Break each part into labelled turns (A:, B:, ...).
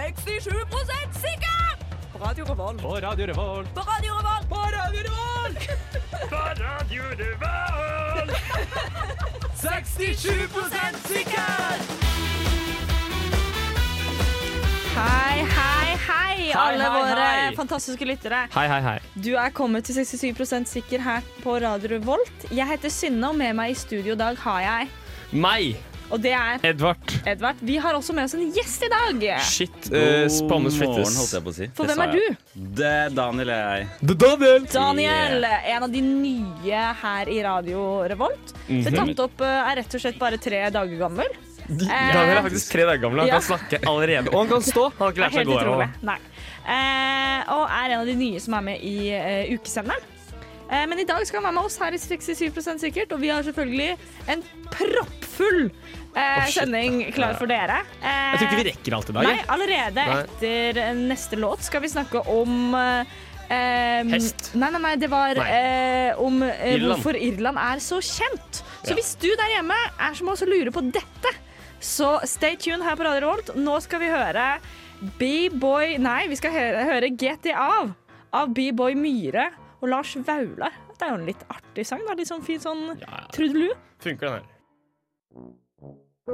A: 67 sikker! På Radio Revolt.
B: På Radio Revolt.
A: På Radio Revolt. På Radio Revolt!
B: 67
A: sikker! Hei, hei, hei, alle
B: hei,
A: våre
B: hei.
A: fantastiske lyttere.
B: Hei, hei, hei.
A: Du er kommet til 67 sikker her på Radio Revolt. Jeg heter Synne, og med meg i studio i dag har jeg
B: Meg,
A: Og det er
B: Edvard.
A: Edvard. Vi har også med oss en gjest i dag.
B: Shit. Uh, Spannes
C: morgen, holdt
B: flyttes.
C: jeg på å si.
A: For
C: Det
A: hvem
C: sa
A: er
C: jeg. Det er Daniel er jeg.
B: The Daniel!
A: Daniel, en av de nye her i Radio Revolt.
B: Mhm.
A: Ble tatt opp, eh, er rett og slett bare tre dager gammel.
B: Daniel er faktisk tre dager gammel. Han
A: Ja.
B: kan snakke allerede. Eh, Og han kan stå. Han har ikke
A: Det
B: lært
A: er
B: seg
A: helt
B: å gå
A: utrolig.
B: ennå.
A: Nei. Eh, og er en av de nye som er med i eh, ukesenderen. Eh, men i dag skal han være med oss her i 67 sikkert, og vi har selvfølgelig en proppfull eh,
B: shit.
A: sending klar for dere.
B: Jeg
A: Eh,
B: tror ikke vi rekker alt i dag.
A: Nei, allerede
B: Nei.
A: etter eh, neste låt skal vi snakke om eh, eh,
B: Hest.
A: Nei, nei, nei, det var
B: Nei.
A: eh, om eh,
B: Irland.
A: hvorfor Irland er så kjent. Så
B: Ja.
A: hvis du der hjemme er som oss og lurer på dette, så stay tuned her på Radio Revolt. Nå skal vi høre B-boy Nei, vi skal høre, høre GTA av B-boy Myhre og Lars Vaular. Det er jo en litt artig sang. da, Litt sånn fin sånn
B: Ja, ja.
A: trudelutt.
B: Funker den her.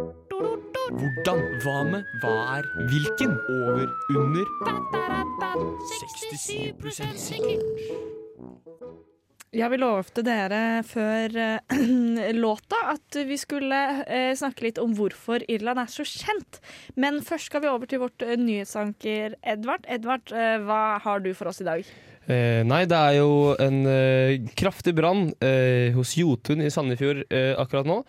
B: Hvordan? Hva med? Hva er? Hvilken? Over? Under? 67 sikker.
A: Ja, vi lovte dere før eh, låta at vi skulle eh, snakke litt om hvorfor Irland er så kjent. Men først skal vi over til vårt eh, nyhetsanker Edvard. Edvard, eh, hva har du for oss i dag?
B: Eh, nei, det er jo en eh, kraftig brann eh, hos Jotun i Sandefjord eh, akkurat nå.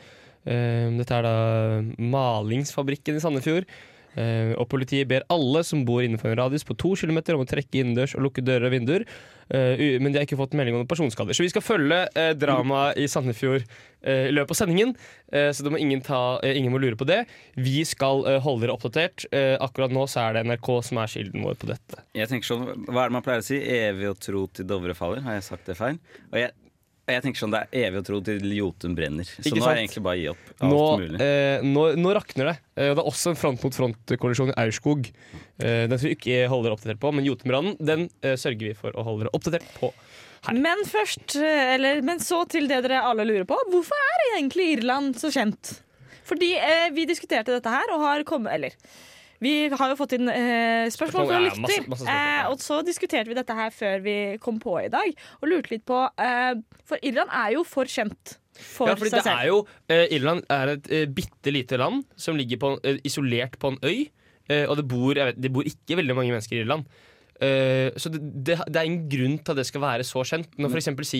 B: Eh, dette er da malingsfabrikken i Sandefjord. Eh, og politiet ber alle som bor innenfor en radius på to kilometer om å trekke innendørs og lukke dører og vinduer. Eh, u- men de har ikke fått melding om noen personskader. Så vi skal følge eh, dramaet i Sandefjord eh, i løpet av sendingen. Eh, så det må ingen, ta, eh, ingen må lure på det. Vi skal eh, holde dere oppdatert. Eh, akkurat nå så er det NRK som er kilden vår på dette.
C: Jeg tenker sånn, Hva er det man pleier å si? Evig og tro til Dovre faller. Har jeg sagt det feil? Og jeg, og jeg tenker sånn, Det er evig og tro til Jotun brenner. Så
B: Ikke
C: nå
B: sant?
C: er jeg egentlig bare å gi opp alt
B: Nå,
C: mulig.
B: eh, nå, nå rakner det. Eh, og det er også en front mot front-kollisjon i Aurskog. Eh, den skal vi ikke holde dere oppdatert på, men Jotunbranden den eh, sørger vi for å holde dere oppdatert på. Hei.
A: Men først, eh, eller, men så til det dere alle lurer på. Hvorfor er egentlig Irland så kjent? Fordi eh, vi diskuterte dette her og har kommet Eller. Vi har jo fått inn eh,
B: Spørsmål,
A: spørsmål fra
B: ja,
A: lytter,
B: masse- masse spørsmål, ja.
A: eh, og så diskuterte vi dette her før vi kom på i dag. Og lurte litt på eh, For Irland er jo for kjent for
B: Ja, fordi det
A: seg selv.
B: er jo, eh, Irland er et eh, bitte lite land som ligger på, en- eh, isolert på en øy. Eh, og det bor, jeg vet, det bor ikke veldig mange mennesker i Irland. Eh, så det, det, det er ingen grunn til at det skal være så kjent. Når
C: Mm.
B: f.eks. si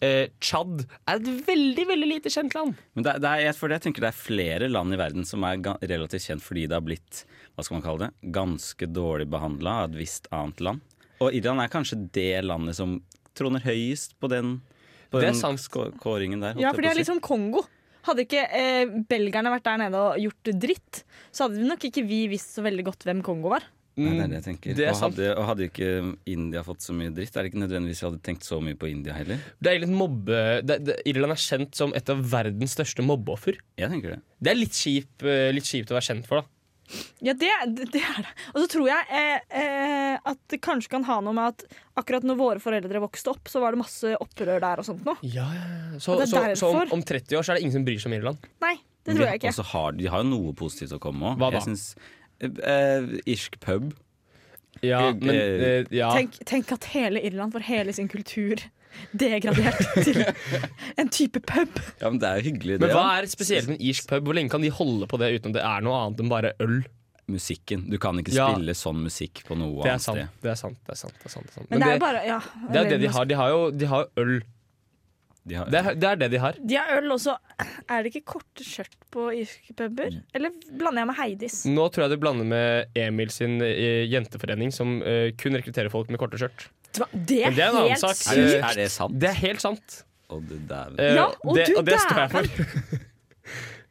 B: eh, Tsjad er et veldig, veldig lite kjent land.
C: Men det, er- det er, jeg, for jeg tenker det er flere land i verden som er ga, relativt kjent fordi det har blitt hva skal man kalle det, ganske dårlig behandla av et visst annet land. Og Irland er kanskje det landet som troner høyest på den, på
B: Det er
C: den
B: sant.
C: kå- kåringen der. holdt
A: Ja,
C: jeg
A: for
C: på
A: det
C: å
A: er
C: si.
A: liksom Kongo. Hadde ikke eh, belgerne vært der nede og gjort dritt, så hadde nok ikke vi visst så veldig godt hvem Kongo var.
C: Nei, det er det jeg tenker.
B: Mm. Det er
C: og,
B: sant.
C: hadde, og hadde ikke India fått så mye dritt? Er det ikke nødvendigvis vi hadde tenkt så mye på India heller?
B: Det er egentlig et mobbe det, det, Irland er kjent som et av verdens største mobbeoffer.
C: Jeg tenker det.
B: Det er litt, kjip, eh, litt kjipt å være kjent for, da.
A: Ja, det, det det er det. Og så tror jeg eh, eh, at det kanskje kan ha noe med at akkurat når våre foreldre vokste opp, så var det masse opprør der og sånt noe.
B: Så,
A: Og det
B: så,
A: er
B: så om,
A: derfor-
B: om 30 år så er det ingen som bryr seg om Irland.
A: Nei, det tror jeg
C: Og
A: ikke.
B: altså,
C: så har de har jo noe positivt å komme med
B: Hva da?
C: Jeg synes, eh, irsk pub.
B: Ja,
C: Eh,
B: men eh, ja.
A: Tenk, tenk at hele Irland får hele sin kultur degradert til en type pub.
C: Ja, men det er jo hyggelig,
B: Men
C: det.
B: hva
C: da.
B: er spesielt med en irsk pub? Hvor lenge kan de holde på det uten at det er noe annet enn bare øl?
C: Musikken. Du kan ikke
B: Ja.
C: spille sånn musikk på noe
B: Det er
C: annet
B: sant.
C: sted.
B: Det er sant, det er sant, det er sant, det er sant.
A: Men, det er jo bare ja,
B: det er det de har. De har jo, de har jo øl.
C: De har,
B: Det er, det er det de har.
A: De har øl også. Er det ikke korte skjørt på irske puber? Eller blander jeg med Heidis?
B: Nå tror jeg du blander med Emil sin eh, jenteforening, som eh, kun rekrutterer folk med korte skjørt.
A: Det var- det
B: Men det er
A: er
B: en annen
A: helt
B: sak.
C: er, det,
A: sykt.
C: er det sant?
B: Det er helt sant.
C: Å, du dæven.
B: Eh,
A: Ja, og
B: det,
A: du
B: og det står jeg
A: dæven.
B: for.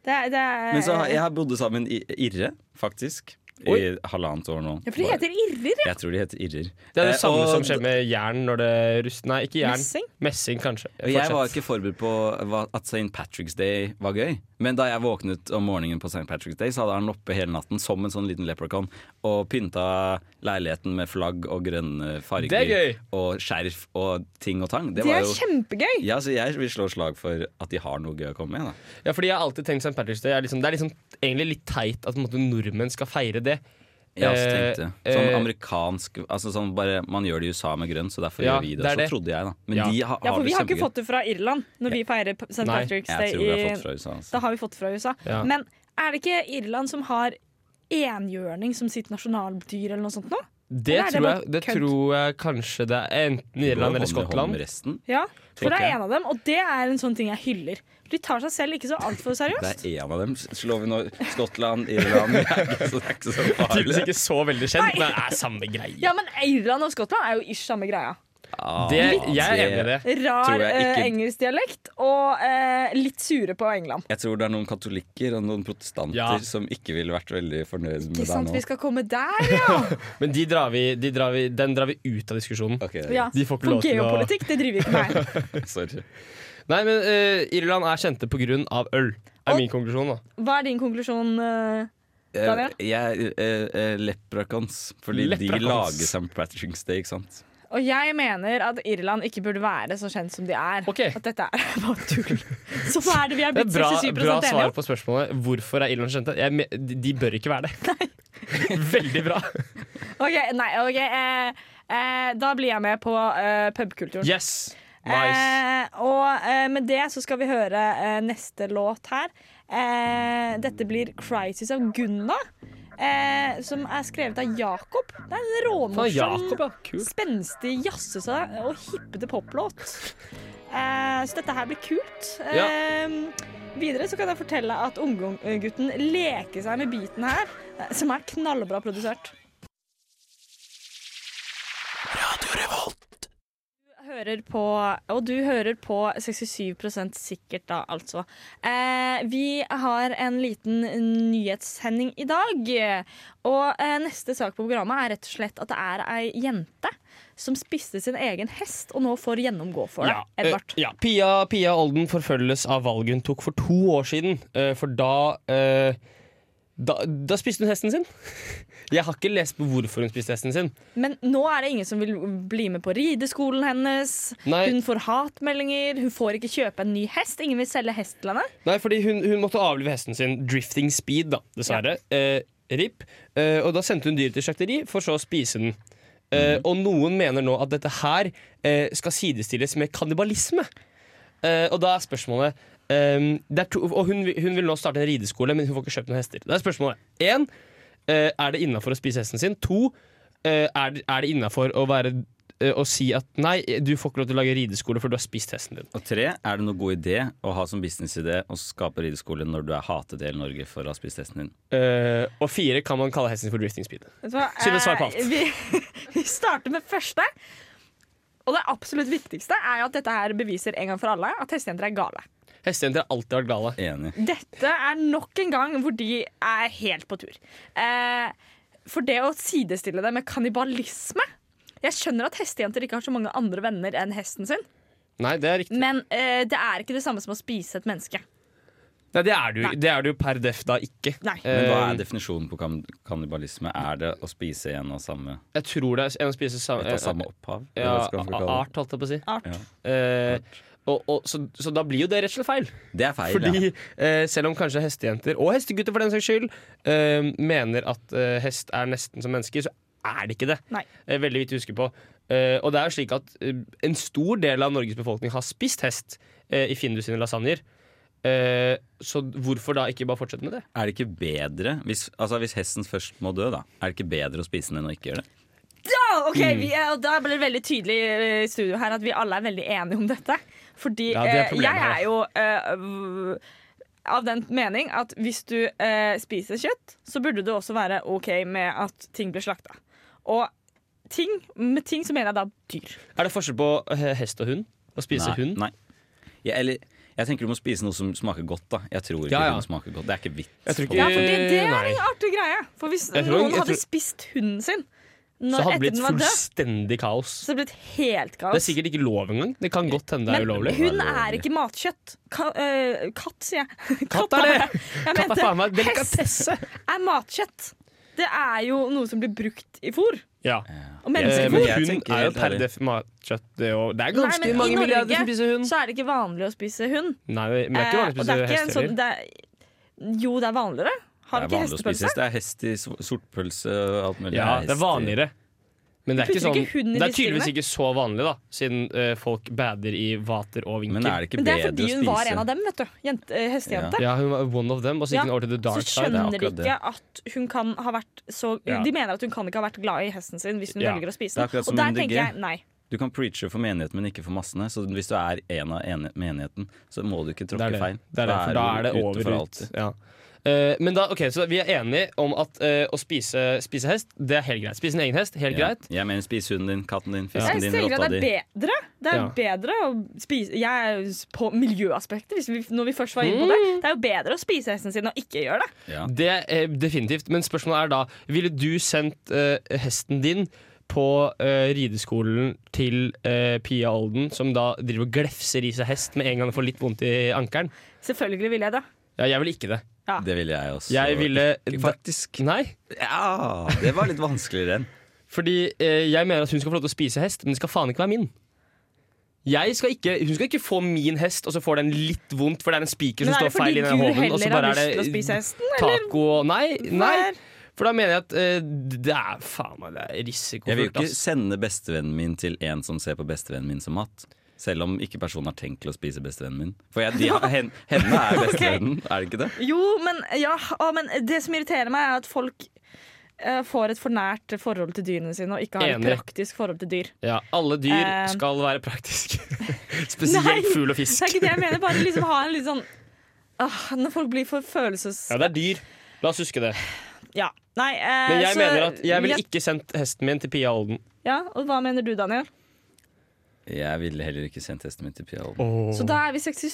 A: Det er, det er,
C: Men så har jeg bodde sammen i Irre, faktisk. i halvannet år nå.
A: Ja, for de heter irrer, ja.
C: Jeg tror de heter irrer.
B: Det er
C: Eh,
B: det samme
C: og
B: som skjer med jern når det ruster Nei, ikke jern.
A: Messing.
B: Messing, kanskje.
C: Og jeg var
B: Fortsett.
C: ikke forberedt på hva- at St. Patrick's Day var gøy. Men da jeg våknet om morgenen på St. Patrick's Day, så hadde han oppe hele natten som en sånn liten leprechaun og pynta leiligheten med flagg og grønne farger.
B: Det er gøy.
C: Og skjerf og ting og tang. Det,
A: Det
C: var
A: er
C: jo
A: kjempegøy.
C: ja, så Jeg vil slå slag for at de har noe gøy å komme med. Da.
B: Ja, fordi jeg har alltid tenkt St. Patrick's Day er liksom, Det er liksom egentlig litt teit at på en måte, nordmenn skal feire det.
C: Jeg også
B: Eh,
C: tenkte Sånn
B: eh,
C: amerikansk altså sånn bare, Man gjør det i USA med grønn, så derfor
B: Ja,
C: gjør vi det.
B: det er
C: så
B: det.
C: trodde jeg, da. Men
B: Ja.
C: de ha,
A: Ja, for
C: har
A: vi
C: det
A: har ikke
C: kjempegøy.
A: fått det fra Irland når vi feirer P- St.
B: Nei,
A: Patrick's
C: Jeg
A: Day.
C: tror vi har fått
A: I,
C: fra USA. altså.
A: da har vi fått fra USA.
B: Ja.
A: Men er det ikke Irland som har enhjørning som sitt nasjonaldyr eller noe sånt nå?
B: Det,
A: Eller er det
B: tror
A: bare
B: jeg, det
A: kødd?
B: tror jeg kanskje det er enten Irland eller
C: Hånd i hånd
B: Skottland.
C: med resten.
A: Ja, for det
C: Tenker jeg.
A: er en av dem, og det er en sånn ting jeg hyller. De tar seg selv ikke så altfor
C: Det
A: seriøst.
C: er én av dem. Slår vi nå Skottland, Irland Det er ikke så, det er ikke så
B: Tydeligvis
C: farlig.
B: ikke så veldig kjent,
A: Nei.
B: men det er samme greie.
A: Ja, men Irland og Skottland er jo ish samme greia.
C: Ah,
B: Det, jeg er enig i det.
A: Rar
C: Tror jeg
A: eh,
C: ikke-
A: engelsk dialekt og eh, litt sure på England.
C: Jeg tror det er noen katolikker og noen protestanter
B: Ja.
C: som ikke ville vært veldig fornøyd med
A: Ikke sant, vi
C: deg nå.
A: skal komme der, ja!
B: Men de drar vi, de drar vi, den drar vi ut av diskusjonen.
C: Ok,
A: ja.
B: De får ikke
A: For
B: lov til å-
A: geopolitikk, det driver vi ikke med her.
C: sorry.
B: Nei, men eh, Irland er kjente på grunn av øl.
A: Og-
B: Er min konklusjon, da.
A: Hva er din konklusjon? eh?
C: Eh,
A: Daniel?
C: Jeg eh, eh, Leprechauns. Fordi de
B: Leprechauns.
C: lager St. Patrick's Day, ikke sant?
A: Og jeg mener at Irland ikke burde være så kjent som de er.
B: Ok.
A: At dette er bare tull. Så hva er det vi er
B: Det er
A: blitt
B: bra,
A: 67
B: bra
A: enige
B: svar
A: om?
B: på spørsmålet. Hvorfor er Irland kjente? Jeg, me- de de bør ikke være det. Veldig bra.
A: Ok, nei, ok eh, eh, Da blir jeg med på eh, pubkulturen.
B: Yes! Nice.
A: Eh, og eh, med det så skal vi høre eh, neste låt her. Eh, dette blir 'Crisis' av Gunna, eh, som er skrevet av Jakob. Det er en
B: Faen,
A: råmorsom,
B: Jakob, ja. Kult.
A: spenstig, jazzete og hippete poplåt. Eh, så dette her blir kult.
B: Ja.
A: Eh, videre så kan jeg fortelle at unggutten leker seg med biten her, eh, som er knallbra produsert. Du Hører på, og du hører på 67 sikkert, da, altså. Eh, vi har en liten nyhetssending i dag. Og eh, neste sak på programmet er rett og slett at det er ei jente som spiste sin egen hest, og nå får gjennomgå for det.
B: Ja, eh,
A: Edvard.
B: ja. Pia, Pia Olden forfølges av valget hun tok for to år siden. eh, for da, eh, da Da spiste hun hesten sin. Jeg har ikke lest på hvorfor hun spiste hesten sin.
A: Men nå er det ingen som vil bli med på rideskolen hennes.
B: Nei.
A: Hun får hatmeldinger, hun får ikke kjøpe en ny hest. Ingen vil selge hest til henne.
B: Nei, fordi hun, hun måtte avlive hesten sin. Drifting speed, da, dessverre. Eh, RIP. Eh, og da sendte hun dyret til slakteri, for så å spise den. Eh, Og noen mener nå at dette her eh, skal sidestilles med kannibalisme. Eh, og da er spørsmålet ehm, det er to, Og hun, vil- hun vil nå starte en rideskole, men hun får ikke kjøpt noen hester. Da er spørsmålet én eh, Er det innafor å spise hesten sin? To eh, Er det, er det innafor å være eh, å si at nei, du får ikke lov til å lage rideskole, for du har spist hesten din.
C: Og tre, er det noen god idé å ha som businessidé å skape rideskole når du er hatet i hele Norge for å ha spist hesten din?
B: Eh, og fire, kan man kalle hesten for drifting speed?
A: Vet du hva?
B: Synne, svar på alt.
A: Eh, Vi, vi starter med første. Og det absolutt viktigste er jo at dette her beviser en gang for alle at hestejenter er gale.
B: Hestejenter har alltid vært gale.
C: Enig.
A: Dette er nok en gang hvor de er helt på tur. Eh, for det å sidestille det med kannibalisme Jeg skjønner at hestejenter ikke har så mange andre venner enn hesten sin,
B: Nei, det er riktig.
A: men eh, det er ikke det samme som å spise et menneske.
B: Nei, det er du,
A: Nei.
B: det er du per def da ikke.
A: Nei.
B: Eh,
C: Men hva er definisjonen på kan- kannibalisme? Er det å spise en av samme,
B: Jeg tror det er en spiser samme,
C: et av samme opphav?
B: eh, ja,
C: Eller hva skal man kalle det?
B: art, holdt jeg på å si.
A: Art.
C: Ja.
B: Eh, og, og, så, så da blir jo det rett og slett feil.
C: Det er feil. ja.
B: Fordi eh, selv om kanskje hestejenter, og hestegutter for den saks skyld, eh, mener at eh, hest er nesten som mennesker, så er det ikke det.
A: Nei.
B: Eh, veldig viktig å huske på. Eh, og det er jo slik at eh, en stor del av Norges befolkning har spist hest eh, i Findus sine lasagner. Eh, så hvorfor da ikke bare fortsette med det?
C: Er det ikke bedre hvis, altså hvis hesten først må dø, da? Er det ikke bedre å spise den enn å ikke gjøre det?
A: Ja, ok,
B: Mm.
A: vi er, og Da ble det veldig tydelig eh, i studio her at vi alle er veldig enige om dette. Fordi
B: Ja, det er
A: eh,
B: problemet
A: jeg er
B: her.
A: jo eh, v- av den mening at hvis du eh, spiser kjøtt, så burde du også være OK med at ting blir slakta. Og ting, med ting så mener jeg da dyr.
B: Er det forskjell på eh, hest og hund? Å spise
C: Nei.
B: hund?
C: Nei. Ja, eller, Jeg tenker du må spise noe som smaker godt, da. Jeg tror ikke
B: Ja, ja.
C: den smaker godt. Det er ikke vits.
B: Jeg tror
C: på
B: ikke-
A: Ja,
C: det.
A: for det, det er
B: Eh, Nei.
A: en artig greie. For hvis
B: Jeg tror-
A: noen
B: jeg
A: hadde
B: tror-
A: spist hunden sin
B: Så
A: når,
B: hadde det
A: etter
B: blitt
A: den var død,
B: fullstendig kaos.
A: så hadde det blitt helt kaos.
B: Det er sikkert ikke lov engang. Det kan godt hende det er
A: Men
B: ulovlig.
A: Hund
C: Det er
A: er
C: ulovlig.
A: ikke matkjøtt. Ka øh, katt, sier jeg.
B: Katt er det!
A: Jeg
B: Katt er
A: mente
B: faen meg en delikatesse!
A: er matkjøtt. Det er jo noe som blir brukt i fôr.
B: Ja.
A: Og
B: Eh, men
C: hvor-
A: menneskefôr.
C: jeg
B: hund
C: tenker
B: er jo
C: helt
B: per
C: ærlig.
B: def matkjøtt. Det er, jo, det er
A: Nei,
B: ganske
A: men i
B: mange milliarder
A: Norge
B: som spiser hund.
A: Så er det ikke vanlig å spise hund.
B: Nei, men det er ikke
A: Eh,
B: vanlig å
A: og det er
B: spise
A: ikke en
B: hest heller.
A: sånn- det er- Jo, det er vanligere. Har
C: Det
A: vi
C: er
A: ikke
C: vanlig å
A: hestepølse?
C: spise hest. Det er hest i so- sortpølse og alt mulig.
B: Ja, det er
C: hest i-
B: vanligere. Men det er,
A: Du
B: ikke
A: putter
B: sånn,
A: ikke hund i
B: det er
A: listene.
B: tydeligvis ikke så vanlig, da, siden eh, folk bader i vater og vinker.
C: Men er det ikke
A: Men det er
C: bedre å
A: fordi hun var en av
C: spise
A: dem, vet du. Jente, eh, hestejente.
B: Ja, hun var one of them, og så
A: Ja,
B: gikk hun over til the
A: Så
B: dark side.
A: skjønner
C: det
A: de
C: er akkurat
A: ikke at hun kan ha vært så
B: Ja.
A: De mener at hun kan ikke ha vært glad i hesten sin hvis hun
B: Ja.
A: velger å spise
C: Det er
A: den.
C: akkurat
A: Og
C: som
A: der
C: MDG.
A: tenker jeg nei.
C: Du kan preache for menigheten, men ikke for massene. Så hvis du er en av eni- menigheten, så må du ikke
B: Det er
C: tråkke
B: det.
C: feil.
B: Det er det, for da er det
C: du ute
B: over
C: for
B: ut.
C: alltid.
B: Ja. Eh, men da, ok, så vi er enige om at eh, å spise, spise hest, det er helt greit. Spise en egen hest, helt
C: Ja.
B: greit.
C: Jeg mener spis hunden din, katten din,
A: Jeg
C: fisken din,
A: tenker
C: rotta
A: at det
C: di.
A: er bedre. Det er
B: Ja. bedre
A: bedre å spise Jeg er på miljøaspektet, når vi først var inne
B: Mm.
A: på det. Det er jo bedre å spise hesten sin og ikke gjøre det.
C: Ja.
B: Det er definitivt. Men spørsmålet er da, ville du sendt eh, hesten din på eh, rideskolen til eh, Pia Olden, som da driver og glefser i seg hest med en gang hun får litt vondt i ankelen?
A: Selvfølgelig vil jeg det.
B: Ja, jeg ville ikke det.
C: Det ville jeg også.
B: Jeg ville
C: Faktisk.
B: Nei.
C: Ja, det var litt vanskeligere enn.
B: Fordi eh, jeg mener at hun skal få lov til å spise hest, men det skal faen ikke være min. Jeg skal ikke, hun skal ikke få min hest, og så får den litt vondt, for det er en spiker som
A: Men er
B: står
A: det
B: feil
A: fordi
B: i
A: du
B: den hoven. Og så
A: heller har
B: bare
A: lyst til å
B: er det
A: spise hesten?
B: taco og Nei, nei.
A: Nei.
B: For da mener jeg at eh, det er faen meg det er risikofullt.
C: Jeg vil jo ikke
B: ass.
C: sende bestevennen min til en som ser på bestevennen min som mat. Selv om ikke personen har tenkt til å spise bestevennen min. For jeg, de, har- hen, henne er bestevennen, er det ikke det?
A: Jo, men, ja, å, men det som irriterer meg, er at folk eh, får et for nært forhold til dyrene sine og ikke har et
B: Enig.
A: praktisk forhold til dyr.
B: Ja, alle dyr
A: Eh,
B: skal være praktiske.
A: Nei,
B: Spesielt fugl og
A: Det er
B: fisk.
A: ikke det jeg mener. Bare liksom ha en litt sånn Åh, Når folk blir for følelses...
B: Ja, det er dyr. La oss huske det.
A: Ja. Nei, eh,
B: Men jeg
A: så-
B: mener at jeg ville
A: Ja,
B: ikke sendt hesten min til Pia Olden.
A: Ja, og hva mener du, Daniel?
C: Jeg ville heller ikke sendt testen min til Pia Holm.
A: Så da er vi 67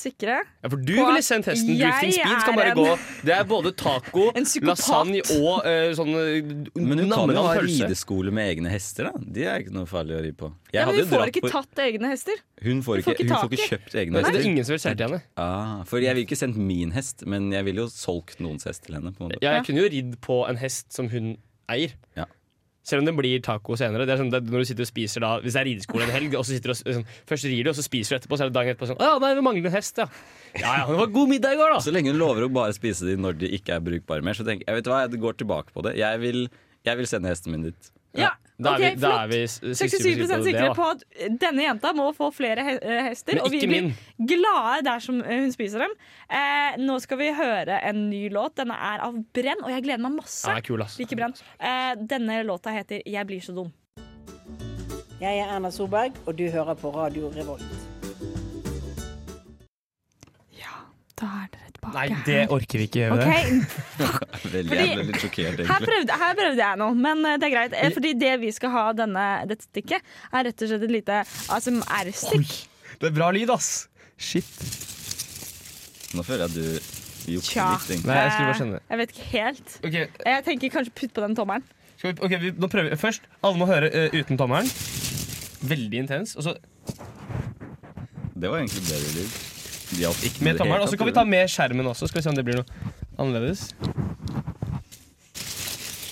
A: sikre.
B: Ja, for du
A: På
B: ville
A: at
B: sendt hesten. Drifting
A: jeg
B: Speed
A: er
B: skal bare
A: en-
B: gå. Det er både taco,
A: En psykopat.
B: lasagne og uh, sånn
C: Men hun kan jo ha
B: pølse.
C: rideskole med egne hester, da. De er ikke noe farlig å ri på. Jeg
A: Ja, men
C: hadde
A: vi
C: jo
A: får
C: dratt
A: ikke
C: på-
A: tatt egne hester.
C: hun får
A: vi får ikke
C: ikke, hun får
A: tak i.
C: ikke kjøpt egne
B: Nei, så det er
C: hester.
B: ingen som vil selge til henne.
C: Ah, for jeg ville ikke sendt min hest, men jeg ville jo solgt noens hest til henne. På en måte.
B: Jeg
A: Ja.
B: kunne jo ridd på en hest som hun eier.
C: Ja.
B: Selv om det blir taco senere. Det er sånn, det er når du sitter og spiser da Hvis det er rideskole en helg, og så sitter du og, s- sånn, først rir du, og så spiser du etterpå, så er det dagen etterpå sånn Å ja, nei, vi mangler en hest, ja. Ja ja, det var god middag i går, da.
C: Så lenge hun lover å bare spise de når de ikke er brukbare mer, så tenker jeg vet du hva, jeg går tilbake på det. Jeg vil, jeg vil sende hesten min dit.
A: Ja,
B: Da er
A: ok,
B: vi, da
A: flott.
B: er vi s-
A: 67
B: på det,
A: sikre
B: da.
A: på at denne jenta må få flere he eh, hester.
B: Men
A: Og vi
B: ikke
A: blir
B: min.
A: glade dersom eh, hun spiser dem. Eh, nå skal vi høre en ny låt. Denne er av Brenn, og jeg gleder meg masse.
B: Ja, det er kul, ass.
A: Like Brenn. Eh, denne låta heter 'Jeg blir så dum'.
D: Jeg er Erna Solberg, og du hører på Radio Revolt.
A: Da er dere tilbake.
B: Nei, det orker vi ikke. gjøre.
A: Ok,
C: Veldig,
A: Fordi-
C: Jeg ble litt sjokkert,
A: Her
C: egentlig.
A: prøvde, her prøvde jeg noe, men eh, det er greit. Eh, Fordi det vi skal ha denne, dette stikket, er rett og slett et lite eh, ASMR-stikk.
B: Det er bra lyd, ass. Shit.
C: Nå føler jeg at du jukser
A: Tja.
C: litt. egentlig.
B: Nei, jeg skulle bare skjønne det.
A: Eh, Jeg vet ikke helt. Eh,
B: Ok,
A: Jeg tenker kanskje putt på den tommelen.
B: Skal vi, ok, vi, nå prøver vi først. Alle må høre eh, uten tommelen. Veldig intens. Og så
C: Det var egentlig bedre lyd. Det hjalp ikke
B: med
C: det hele
B: tommelen. Og så
C: tatt,
B: kan vi ta
C: gjorde
B: med skjermen også. Skal vi se om det blir noe annerledes.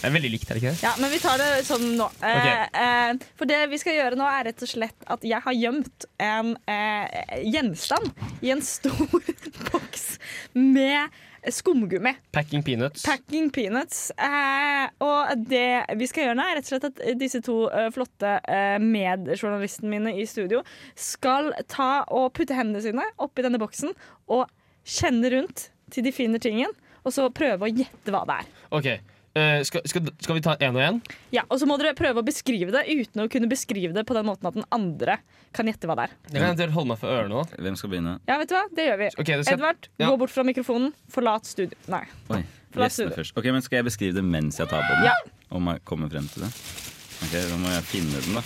B: Det er veldig likt, er det ikke det?
A: Ja, men vi tar det sånn nå. Eh,
B: Ok.
A: eh, for det vi skal gjøre nå, er rett og slett at jeg har gjemt en eh, gjenstand i en stor boks med skumgummi.
B: Packing peanuts.
A: Packing peanuts. Eh, og det vi skal gjøre nå, er rett og slett at disse to eh, flotte eh, medjournalistene mine i studio skal ta og putte hendene sine oppi denne boksen og kjenne rundt til de finner tingen, og så prøve å gjette hva det er.
B: Ok, eh, skal, skal, skal vi ta én og én?
A: Ja, Og så må dere prøve å beskrive det uten å kunne beskrive det på den måten at den andre kan gjette hva det er.
B: Jeg kan eventuelt holde meg for ørene nå.
C: du. Hvem skal begynne?
A: Ja, vet du hva? Det gjør vi.
B: Ok, det skal-
A: Edvard,
B: ja.
A: gå bort fra mikrofonen. Forlat studio. Nei.
C: Oi,
A: La oss
C: gjestene
A: gjøre det.
C: først. Ok, men Skal jeg beskrive det mens jeg tar på den?
A: Ja.
C: Om jeg kommer frem til det? Ok, Da må jeg finne den, da.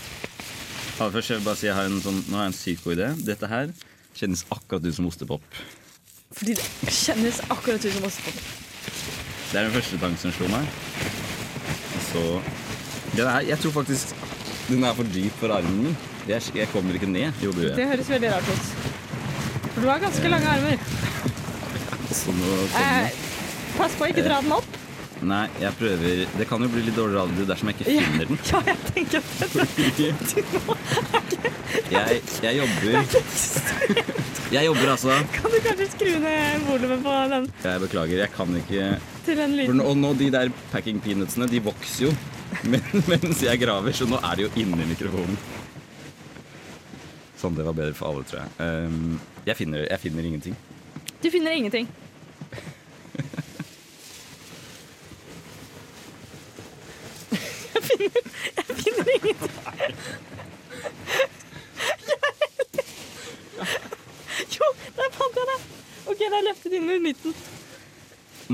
C: Aller først, jeg vil bare si jeg har en sånn, Nå har jeg en psyko idé. Dette her Kjennes akkurat ut som ostepop.
A: Fordi det kjennes akkurat ut som ostepop.
C: Det er den første tanken som slo meg. Og så den er, Jeg tror faktisk den er for dyp for armen min. Jeg, jeg kommer ikke ned. Jo, det
A: Det
C: gjør jeg.
A: høres veldig rart ut. For du har ganske lange armer.
C: Så nå kommer
A: Eh, pass på å ikke dra den opp.
C: den. Nei, jeg prøver Det kan jo bli litt dårlig radio dersom jeg ikke
A: Ja,
C: finner den.
A: ja jeg tenker at det
C: Jeg, jeg jobber Jeg jobber altså.
A: kan du kanskje skru ned volumet på den
C: Jeg beklager, jeg kan ikke
A: til en
C: For
A: liten
C: nå, og nå de der packing peanutsene, de vokser jo men, mens jeg graver, så nå er de jo inni mikrofonen. Sånn, det var bedre for alle, tror jeg. Ehm, jeg, finner, jeg finner ingenting.
A: Du finner ingenting. Jeg finner, jeg finner ingenting. Jo, der fant jeg det! OK, der løftet inn i midten.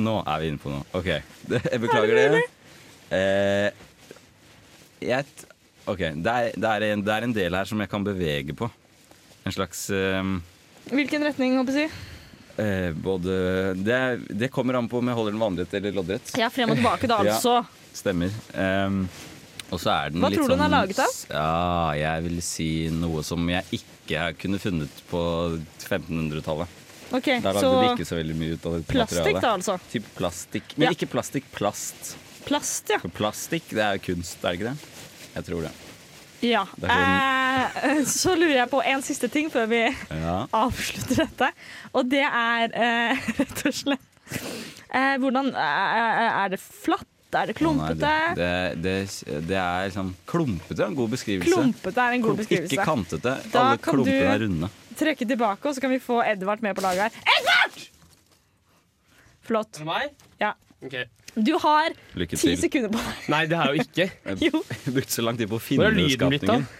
C: Nå er vi inne på noe. OK. Det, jeg beklager det. Eh, jeg t- OK. Det er, det, er en, det er en del her som jeg kan bevege på. En slags ehm,
A: Hvilken retning, håper jeg å si?
C: eh, Både det, det kommer an på om jeg holder den vannrett eller loddrett.
A: Ja, frem og tilbake, da,
C: Ja.
A: altså.
C: Stemmer. Ehm, og så er den
A: Hva
C: litt
A: tror du
C: sånn,
A: den er laget av?
C: Ja, jeg vil si noe som jeg ikke har kunne funnet på 1500-tallet.
A: OK,
C: Der lagde
A: så
C: de ikke så veldig mye ut av det
A: plastikk, da, altså.
C: Typ plastikk. Men
A: Ja.
C: ikke plastikk, plast.
A: Plast, ja.
C: For plastikk, det er jo kunst, er det ikke det? Jeg tror det.
A: ja.
C: Det er
A: Eh, så lurer jeg på en siste ting før vi
C: Ja.
A: avslutter dette. Og det er eh, rett og slett eh, Hvordan eh, Er det flatt? Er det klumpete?
C: Nei, Det, det, det, det er liksom Klumpete er en god beskrivelse.
A: klumpete er en god
C: Klump-
A: beskrivelse.
C: Ikke kantete.
A: Da
C: Alle
A: kan du-
C: klumpene er runde.
A: Trekke tilbake, og så kan vi få Edvard med på laget her. Edvard! Flott.
B: Er det meg?
A: Ja.
B: Ok.
A: Du har
C: Lykke
A: ti
C: til.
A: sekunder på deg.
B: Nei, det har jeg jo ikke.
A: Jo,
C: Jeg brukte så lang tid på å
B: Hvor
C: finne
B: er lyden blitt av?
C: skapningen.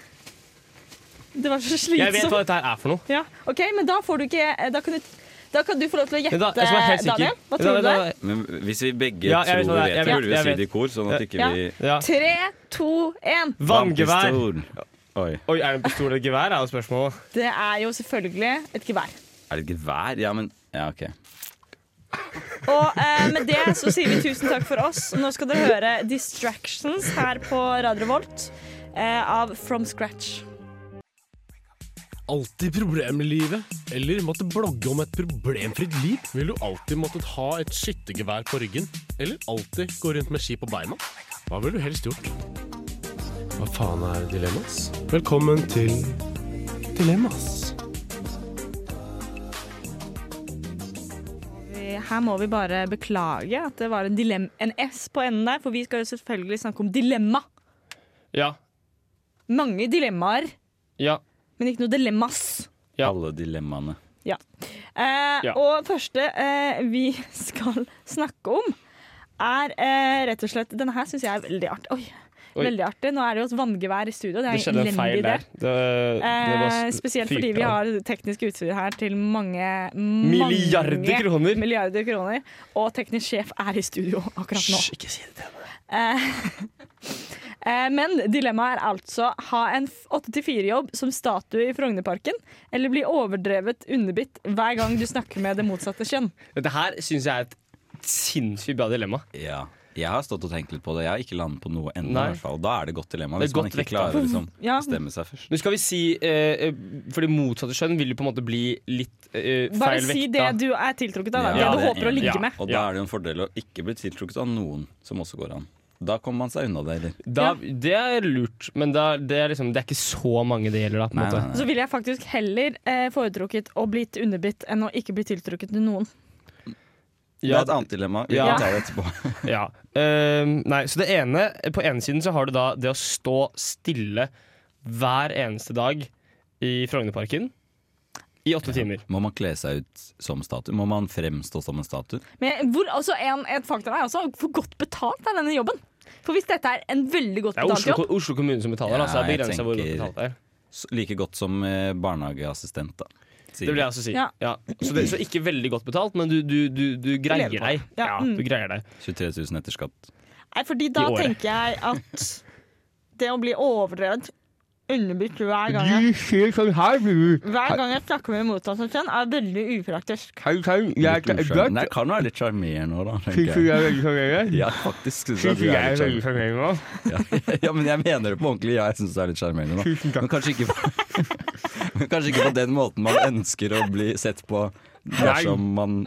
A: det var så
B: Jeg vet
A: slitsomt.
B: hva dette her er for noe.
A: Ja. OK, men da får du ikke eh, Da kan du, da kan du få lov til å gjette,
B: Men da, jeg skal være helt sikker.
A: Daniel. Hva
B: Da-
A: tror du
B: da-
A: det er?
B: da-
C: Men hvis vi begge
B: Ja, jeg vet
C: tror
B: hva
C: vi
B: det er.
C: vet
B: Jeg
C: det, burde vi
B: vet-
C: jo si
B: jeg
C: det i kor, sånn at ikke
A: Ja.
C: vi
B: Ja.
A: Tre, to, én.
B: Vanngevær.
C: Vannpistol. Oi.
B: Oi, er det en pistol eller et gevær? er jo spørsmålet.
A: Det er jo selvfølgelig et gevær.
C: Er det et gevær? Ja, men Ja, OK.
A: Og eh, med det så sier vi tusen takk for oss. Nå skal dere høre 'Distractions' her på Radio Volt eh, av From Scratch.
E: alltid problemer i livet? Eller måtte blogge om et problemfritt liv? Vil du alltid måttet ha et skyttergevær på ryggen? Eller alltid gå rundt med ski på beina? Hva ville du helst gjort? Hva faen er dilemmas? Velkommen til Dilemmas.
A: Vi- Her må vi bare beklage at det var en, dilem en S på enden der, for vi skal jo selvfølgelig snakke om dilemma.
B: Ja.
A: Mange dilemmaer,
B: Ja.
A: men ikke noe dilemmas.
B: Ja.
C: Alle dilemmaene.
A: Eh,
B: Ja.
A: Og første eh, vi skal snakke om, er eh, rett og slett Denne her syns jeg er veldig artig. Oi,
B: Oi.
A: veldig artig. Nå er det jo et vanngevær i studio. Det er
B: Det skjedde en
A: elendig
B: feil
A: idé.
B: der. Det, det var
A: Eh,
B: s-
A: spesielt
B: fyrt
A: fordi vi
B: av.
A: har teknisk utstyr her til mange
B: Milliarder
A: mange
B: kroner.
A: Milliarder kroner. Og teknisk sjef er i studio akkurat nå.
B: Hysj, ikke si det til henne.
A: Eh, eh, men dilemmaet er altså ha en 8-4-jobb som statue i Frognerparken, eller bli overdrevet underbitt hver gang du snakker med det motsatte kjønn.
B: Dette her syns jeg er et sinnssykt bra dilemma.
C: Ja. Jeg har stått og tenkt litt på det. Jeg har ikke landet på noe ennå.
B: Nei.
C: i hvert fall. Da er det godt dilemma.
B: Det er
C: Hvis man
B: godt
C: ikke
B: vekta.
C: klarer å liksom,
A: Ja.
C: bestemme seg først.
B: Nå skal vi si eh, eh, For det motsatte kjønn vil jo på en måte bli litt eh,
A: Bare
B: feil
A: si det
B: vekta.
A: du er tiltrukket av, da.
C: Ja,
A: det du
C: det er
A: håper å
C: enig.
A: ligge
B: Ja.
A: med.
C: Og da
B: Ja.
C: er det jo en fordel å ikke bli tiltrukket av noen, som også går an. Da kommer man seg unna det, eller?
B: Da, det er lurt, men da, det, er liksom, det er ikke så mange det gjelder, da. På en
C: Nei,
B: måte.
C: nei, nei.
A: Så ville jeg faktisk heller eh, foretrukket å bli underbitt enn å ikke bli tiltrukket til noen.
C: Det er et annet dilemma. Vi
B: Ja.
C: kan ta det etterpå.
B: Ja. Ehm, nei, så det ene På ene siden så har du da det å stå stille hver eneste dag i Frognerparken i åtte timer.
C: Må man kle seg ut som statue? Må man fremstå som en statue?
A: Men hvor, altså, en, et faktum er også hvor godt betalt er denne jobben. For hvis dette er en veldig godt
B: Det er
A: betalt
B: Oslo,
A: jobb
B: Oslo kommune som betaler, da, så det
C: Ja,
B: er
C: jeg
B: begrensa hvor godt
C: tenker-
B: betalt det er.
C: S- Like godt som eh, barnehageassistent, da. sier
B: Det vil
C: vi.
B: jeg også si.
A: Ja.
B: Ja. Så, det, så ikke veldig godt betalt, men du, du, du, du greier
A: Lever på
B: deg.
A: det. Ja,
B: Ja,
A: mm.
B: du greier deg.
C: 23 000 etter skatt.
A: Nei, fordi da
B: i året.
A: tenker jeg at det å bli overdrevet
F: underbitt hver gang jeg,
B: ser sånn her, du.
F: hver gang jeg snakker med motsatt kjønn, er veldig upraktisk.
B: Hei, hei,
C: Litt usjarm- Nei, kan være litt sjarmerende òg, da. tenker jeg.
B: er veldig sjarmerende?
C: Ja, faktisk synes jeg du er litt
B: sjarmerende?
C: sjarmerende. Ja, ja, men jeg mener det på ordentlig. Ja, jeg syns du er litt sjarmerende. da.
B: Tusen takk.
C: Men kanskje ikke, på, men kanskje ikke på den måten man ønsker å bli sett på dersom man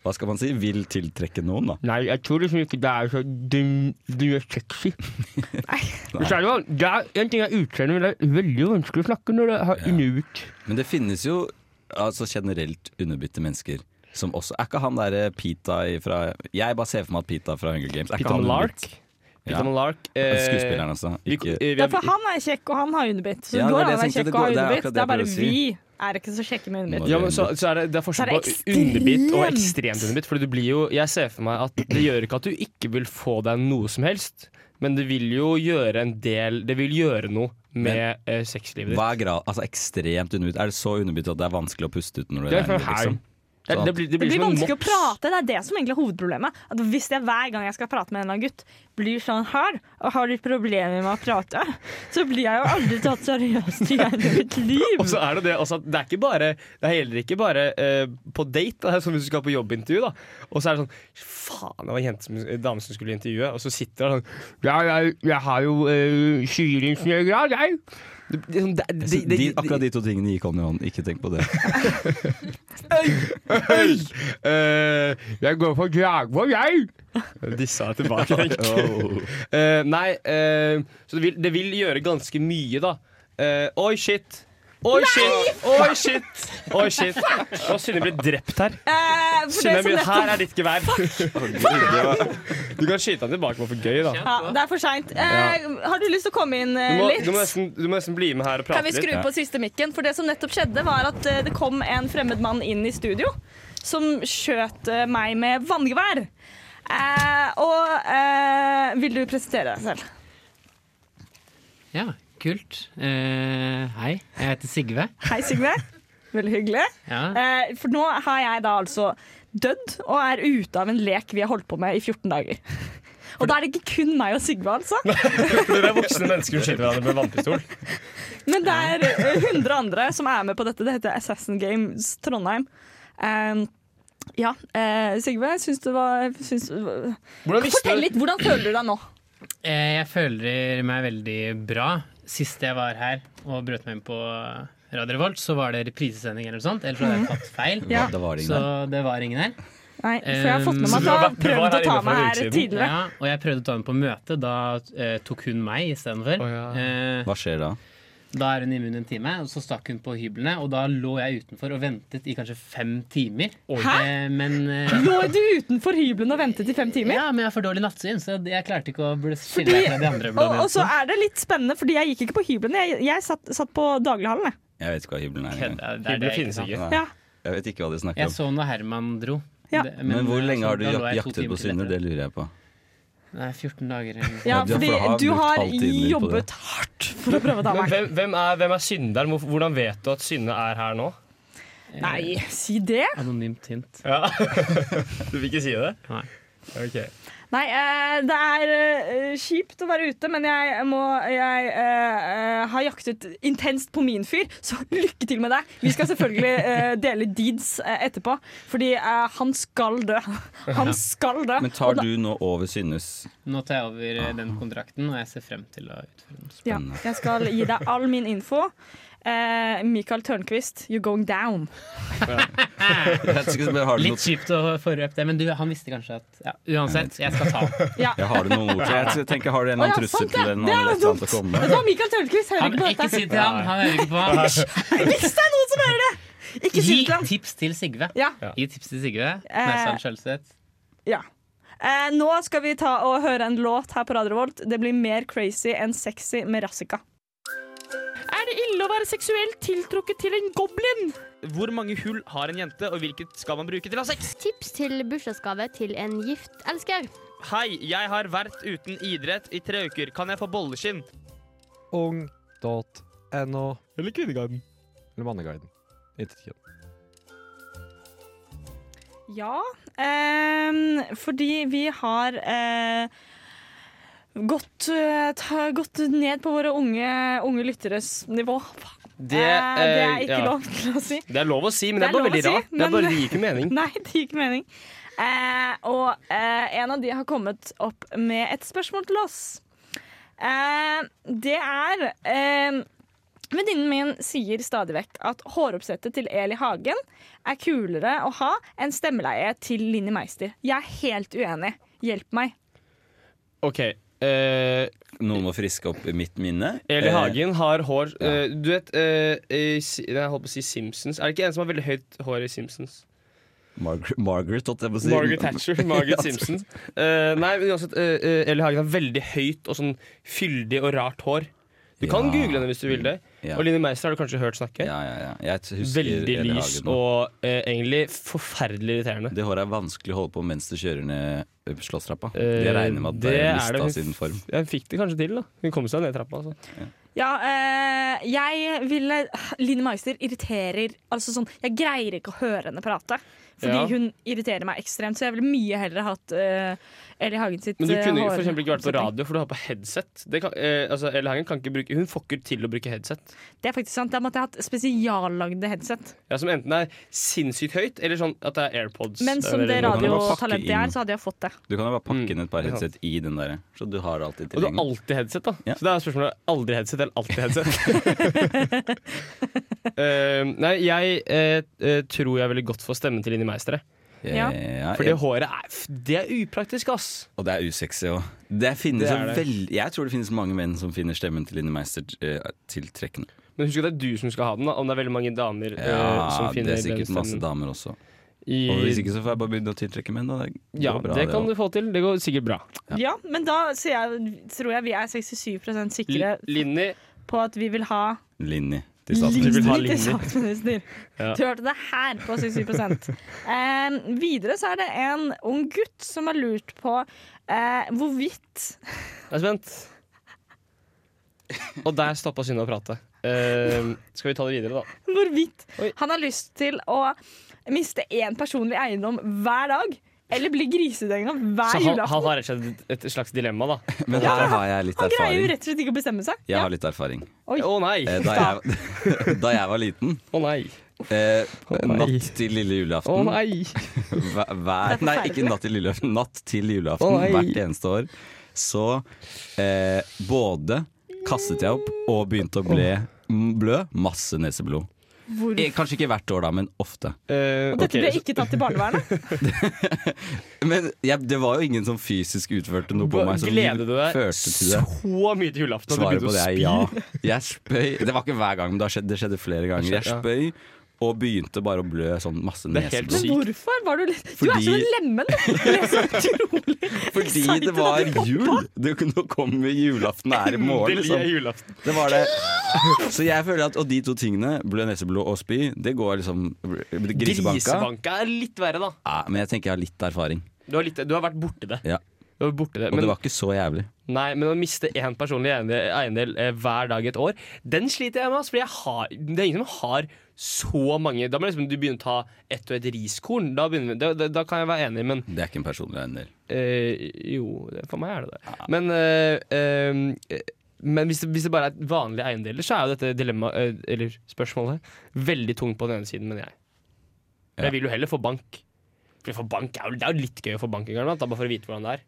C: hva skal man si, vil tiltrekke noen, da.
B: Nei, jeg tror liksom ikke det er så Du, du er sexy. Og så er det, jo- det er en ting jeg utseendet, men det er veldig vanskelig å snakke når det har
C: Ja.
B: inuitt.
C: Men det finnes jo altså, generelt underbitte mennesker. Som også, er ikke han derre Pita fra Jeg bare ser for meg at Pita fra Hunger Games. Er ikke
B: Peter
C: han
B: Malark.
C: underbitt?
B: Peter
C: Ja.
B: Malark. eh,
C: Skuespilleren, altså.
B: vi-
C: Ikke,
B: eh, vi
A: Ja,
B: er-
A: for han er kjekk, og han har underbitt. Så
C: Ja, det
A: det går an
C: var det
A: å
C: jeg
A: være
C: tenkte.
A: kjekk
C: Det
A: og ha
C: går- det er
A: underbitt.
C: akkurat det
A: Det er
C: jeg
A: bare
C: prøver å
A: vi er ikke så kjekke med underbitt.
C: Må-
B: ja, men så, så er det, det er forskjell
A: Så er det
B: på underbitt og
A: ekstremt.
B: ekstremt underbitt. Fordi du blir jo, jeg ser for meg at det gjør ikke at du ikke vil få deg noe som helst, men det vil jo gjøre en del Det vil gjøre noe med eh, sexlivet ditt.
C: hva er grad, altså ekstremt underbitt? Er det så underbitt at det er vanskelig å puste ut når du
B: Det
C: er
B: er for
C: nærmere,
B: her.
C: liksom?
B: Det, det, blir, det
A: Det
B: blir
A: blir
B: som en
A: vanskelig å
B: mops.
A: prate. Det er det som egentlig er hovedproblemet. At hvis jeg hver gang jeg skal prate med en eller annen gutt, blir sånn her, og har litt problemer med å prate, så blir jeg jo aldri tatt seriøst igjen i mitt
B: Og
A: liv.
B: så er det det altså, at det er ikke bare Det er heller ikke bare eh, på date, da, som hvis du skal på jobbintervju. da Og så er det sånn Faen, det var en jente som, en dame som skulle intervjue, og så sitter hun sånn Ja, jeg, jeg har jo uh, sivilingeniørgrad, jeg. Det, det, det, det,
C: Altså, De,
B: det,
C: akkurat de to tingene gikk hånd i hånd. Ikke tenk på det.
B: Eh, jeg går for Dragvoll, jeg! Disse er tilbake, tenk. Eh, nei, eh, så det vil, det vil gjøre ganske mye, da. Eh, oi, shit! Oi, shit! Oi, shit! Oi, shit! Og Synne ble drept her.
A: Eh, for det,
B: Synne,
A: som
B: blir-
A: nettopp,
B: her er ditt gevær. Du kan skyte han tilbake bare for gøy, da.
A: ja, det er for seint. Eh, har du lyst til å komme inn
B: Du
A: eh,
B: må, du, må
A: litt?
B: nesten, du må nesten bli med her og
A: Kan
B: prate
A: vi skru
B: litt.
A: på siste mikken? For det som nettopp skjedde, var at eh, det kom en fremmed mann inn i studio som skjøt eh, meg med vanngevær. Eh, og eh, vil du presentere deg selv?
G: Ja, kult. Eh, hei, jeg heter Sigve.
A: Hei, Sigve. Veldig hyggelig.
G: Ja.
A: Eh, for nå har jeg da altså dødd og er ute av en lek vi har holdt på med i 14 dager. Og da er det ikke kun meg og Sigve, altså.
B: Dere er voksne mennesker som skyter hverandre med vannpistol.
A: Men det er eh, 100 andre som er med på dette. Det heter Assassin Games Trondheim. Eh, ja, eh, Sigve, syns du var syns,
B: Hvordan visste
A: Fortell
B: du
A: litt. Hvordan føler du deg nå?
G: Eh, jeg føler meg veldig bra. Sist jeg var her og brøt meg inn på Radio Revolt, så var det reprisesending eller noe sånt. Eller så hadde jeg tatt feil.
A: Mm. Ja.
C: Da var det ingen
G: Så
C: der.
G: det var ingen her.
A: Nei, for jeg har fått med
G: Eh,
A: meg at du har
B: så du var-
A: prøvd
B: du
A: å
B: var
A: ta
B: her inne for
A: meg
B: en
A: her
B: uke siden.
A: tidligere.
G: Ja, og jeg prøvde å ta henne på møte. Da eh, tok hun meg istedenfor.
B: Å, ja.
G: Eh,
C: Hva skjer da?
G: da er hun immun en time, og så stakk hun på hyblene. Og da lå jeg utenfor og ventet i kanskje fem timer.
A: Hæ?
G: Eh, men eh,
A: Lå du utenfor hybelen og ventet i fem timer?
G: Ja, men jeg har for dårlig nattsyn, så jeg klarte ikke å bli- skille
A: Fordi-
G: meg fra de andre.
A: Og, og så
G: blodjentene.
A: er det litt spennende, fordi jeg gikk ikke på hybelen. Jeg, jeg satt, satt på daglighallen. jeg.
C: Jeg vet ikke hva hybelen er. engang.
G: Kødda, det er det
B: Hybler
G: jeg
B: finnes
G: sa.
B: ikke.
C: Nei,
A: Ja.
C: Jeg vet ikke hva de snakker
G: Jeg
C: om.
G: så når Herman dro.
A: Ja.
G: Det-
C: Men eh, hvor lenge har du
G: da lå
C: jak-
G: jeg to
C: jaktet
G: timer
C: på
G: til
C: synder?
G: etter.
C: Det lurer jeg på.
G: Nei, 14 dager. eller noe.
A: Ja,
C: Ja, for
A: fordi
C: da har jeg
A: du
C: brukt
A: har
C: all tiden min på
A: jobbet hardt for å prøve å ta
B: Men
A: meg.
B: hvem, hvem, er, hvem er synderen? Hvor- Hvordan vet du at Synne er her nå?
A: Nei, si det.
G: Anonymt hint.
B: Du vil ikke si det?
G: Nei.
B: Ok.
A: Nei, eh, det er eh, kjipt å være ute, men jeg må Jeg eh, eh, har jaktet intenst på min fyr, så lykke til med deg. Vi skal selvfølgelig eh, dele deeds eh, etterpå, fordi eh, han skal dø. Han skal dø.
C: Men tar du nå over Synnes?
G: Nå tar jeg over eh, den kontrakten, og jeg ser frem til å utføre den.
A: Ja,
C: Spennende.
A: jeg skal gi deg all min info. Eh, Michael Tørnquist, you're going down.
C: Jeg vet ikke, men Har du
G: Litt
C: noe
G: kjipt å forrøpe det, men du, han visste kanskje at ja, Uansett, jeg skal ta han.
A: Ja.
C: ja, har du noen ord til Jeg tenker, har du en
A: Å, ja,
C: eller annen trussel
A: sant, ja.
C: til en
A: Det er
C: eller
A: jo
C: et eller annet å komme med?
A: Det var Michael Tørnquist, hører
G: han
A: ikke på
G: ikke
A: dette.
G: si til ham! Han hører ikke på ham.
A: Hvis det er noen som hører det! Ikke si det til
G: Gi
A: ham.
G: tips til Sigve.
A: Ja.
G: Gi tips til Sigve.
A: Eh.
G: Nessan Sjølseth.
A: Ja. Eh, nå skal vi ta og høre en låt her på Radio Revolt. Det blir mer crazy enn sexy med Rassika. Er det ille å være seksuelt tiltrukket til en goblin?
H: Hvor mange hull har en jente, og hvilket skal man bruke til å ha sex?
I: Tips til bursdagsgave til en gift elsker.
H: Hei, jeg har vært uten idrett i tre uker. Kan jeg få bolleskinn?
J: ung.no
B: Eller Kvinneguiden.
J: eller Manneguiden. Intet kjønn.
A: Ja, ehm, fordi vi har eh, gått, eh, ta, gått ned på våre unge, unge lytteres nivå.
B: Det,
A: Eh, det er
B: eh,
A: ikke
B: ja.
A: lov til å si.
B: Det er lov å si, men det er,
A: lov
B: bare veldig
A: å si,
B: rart. Det
A: men-
B: er bare det gir ikke mening.
A: Nei, det gir ikke mening. Eh, og eh, en av de har kommet opp med et spørsmål til oss. Eh, det er eh, Venninnen min sier stadig vekk at håroppsettet til Eli Hagen er kulere å ha enn stemmeleie til Linni Meister. Jeg er helt uenig. Hjelp meg.
B: Ok, eh,
C: Noen må friske opp i mitt minne.
B: Eli
C: Eh,
B: Hagen har hår eh, Du vet, eh, i Si- nei, jeg holdt på å si Simpsons. Er det ikke en som har veldig høyt hår i Simpsons?
J: Margaret, Margaret, holdt jeg på å si.
B: Margaret Thatcher. Margaret Simpson. Eh, nei, men uansett, eh, eh, Eli Hagen har veldig høyt og sånn fyldig og rart hår. Du kan
C: Ja.
B: google henne hvis du vil det.
C: Ja.
B: Og Line Meister har du kanskje hørt snakke.
C: Ja, ja, ja. Jeg husker
B: Veldig
C: Eli
B: lys
C: Hagen nå.
B: og eh, egentlig forferdelig irriterende.
C: Det håret er vanskelig å holde på mens du kjører ned slåsstrappa.
B: Eh,
C: Det regner med at det er
B: det.
C: mista
B: Hun
C: sin
B: f-
C: form.
B: Hun fikk det kanskje til, da. Hun kom seg ned trappa. Altså.
A: Ja, eh, jeg ville Linni Meister irriterer Altså sånn, jeg greier ikke å høre henne prate. Fordi
B: Ja.
A: hun irriterer meg ekstremt, så jeg ville mye heller hatt eh, Eli Hagen sitt
B: Men du
A: eh,
B: kunne jo
A: hår-
B: for eksempel ikke vært på
A: oppsetning.
B: radio, for du har på headset. Det kan, eh, altså, Eli Hagen kan ikke bruke Hun får ikke til å bruke headset.
A: Det er faktisk sant. Da måtte jeg hatt spesiallagde headset.
B: Ja, som enten er sinnssykt høyt, eller sånn at det er AirPods.
A: Men som det
B: Eller-
C: radio- kan jo bare pakke
A: radiotalentet jeg
C: inn.
A: er, så hadde jeg fått det.
C: Du kan jo bare pakke inn et par
B: det er
C: headset i den der, så du har det alltid
B: Mm. Og du har
C: tilgjengelig.
B: alltid headset, da.
C: Ja.
B: Så det er spørsmålet aldri headset eller alltid headset. Eh, nei, jeg eh, eh, tror jeg ville gått for stemmen til Inni Meistre.
C: Ja. Ja,
B: For
C: jeg-
B: det håret er f- Det er upraktisk, ass.
C: Og det er usexy òg. Det
B: Det
C: finnes jo
B: er det.
C: veld- Jeg tror det finnes mange menn som finner stemmen til Linni Meister eh, tiltrekkende.
B: Men husk at det er du som skal ha den, da, om det er veldig mange damer eh,
C: Ja,
B: som
C: det
B: finner
C: er sikkert
B: den
C: masse
B: stemmen.
C: damer også.
B: I-
C: Og hvis ikke så får jeg bare begynne å tiltrekke menn, da. Det går
B: Ja,
C: bra,
B: det kan
C: også.
B: du få til. Det går sikkert bra.
A: Ja, men da sier jeg, tror jeg vi er 67 sikre
B: L- Linni
A: på at vi vil ha
C: Linni til
B: Du vil ha
C: statsminister.
A: Linni til
B: Linni.
A: statsminister.
B: Ja.
A: Du hørte det her på 67 eh, Videre så er det en ung gutt som har lurt på eh, hvorvidt
B: Jeg er spent. Og der stoppa Synne å prate. Eh, skal vi ta det videre, da?
A: Hvorvidt han har lyst til å miste én personlig eiendom hver dag, eller bli grisedenga
B: Så
A: hver
B: han, han
A: julaften.
B: har rett og slett et slags dilemma, da.
C: Men her har jeg litt
A: Han greier jo
C: erfaring.
A: rett og slett ikke å bestemme seg.
C: Jeg har litt erfaring.
A: Oi.
B: Å nei!
C: Eh,
B: Å
C: Da jeg, da jeg var liten,
B: nei!
C: eh,
B: nei.
C: natt Mm. til lille
B: Å
C: julaften
B: nei!
C: hver,
A: Det er
C: hver, Nei, ikke
A: forferdelig.
C: natt til lille julaften. Natt til
B: Å,
C: julaften
B: nei.
C: hvert eneste år. Så eh, både kastet jeg opp og begynte å ble, m- blø. Masse neseblod.
A: Hvorfor?
C: Eh, Kanskje ikke hvert år, da, men ofte.
B: Eh,
A: Dette
B: ok,
A: ble
B: så-
A: ikke tatt til barnevernet.
C: Men jeg, det var jo ingen som fysisk utførte noe på
B: Hva-
C: meg som
B: Gleder du deg
C: førte til det.
B: så mye til julaften at du
C: Svaret på
B: begynte å
C: det er
B: spy?
C: ja. Jeg spøy Det var ikke hver gang, men det har skjedd- det skjedde flere ganger. Jeg spøy og begynte bare å blø sånn masse
B: Det er helt
C: neseblod.
B: sykt.
A: Men hvorfor var du litt Du er
C: Fordi-
A: som en lemen! Du er så utrolig
C: Fordi
A: excited
C: det
A: at
C: var
A: du poppa.
C: jul! Det kunne komme julaften er i morgen,
B: Endelig er
C: liksom.
B: julaften.
C: Det var det. Så jeg føler at Og de to tingene, blø neseblod og spy, det går liksom Grisebanka.
B: Grisebanka er litt verre, da.
C: Ja, men jeg tenker jeg har litt erfaring.
B: Du har, litt, du har vært borti det.
C: Ja.
B: Du har vært borti det.
C: Og
B: Men,
C: det var ikke så jævlig.
B: nei, men å miste én personlig eiende- eiendel eh, hver dag et år, den sliter jeg med. ass, Fordi jeg har, det er ingen som har så mange. Da må liksom du begynne å ta ett og ett riskorn. Da, begynner vi, da, da, da kan jeg være enig, men
C: Det er ikke en personlig eiendel.
B: Eh, jo, det- for meg er det det. Men, eh, eh, men hvis, det, hvis det bare er vanlige eiendeler, så er jo dette dilemma, eh, eller spørsmålet veldig tungt på den ene siden, mener jeg. Men jeg vil jo heller få bank. For for bank er jo, det er jo litt gøy å få bank en gang, iblant, da, bare for å vite hvordan det er.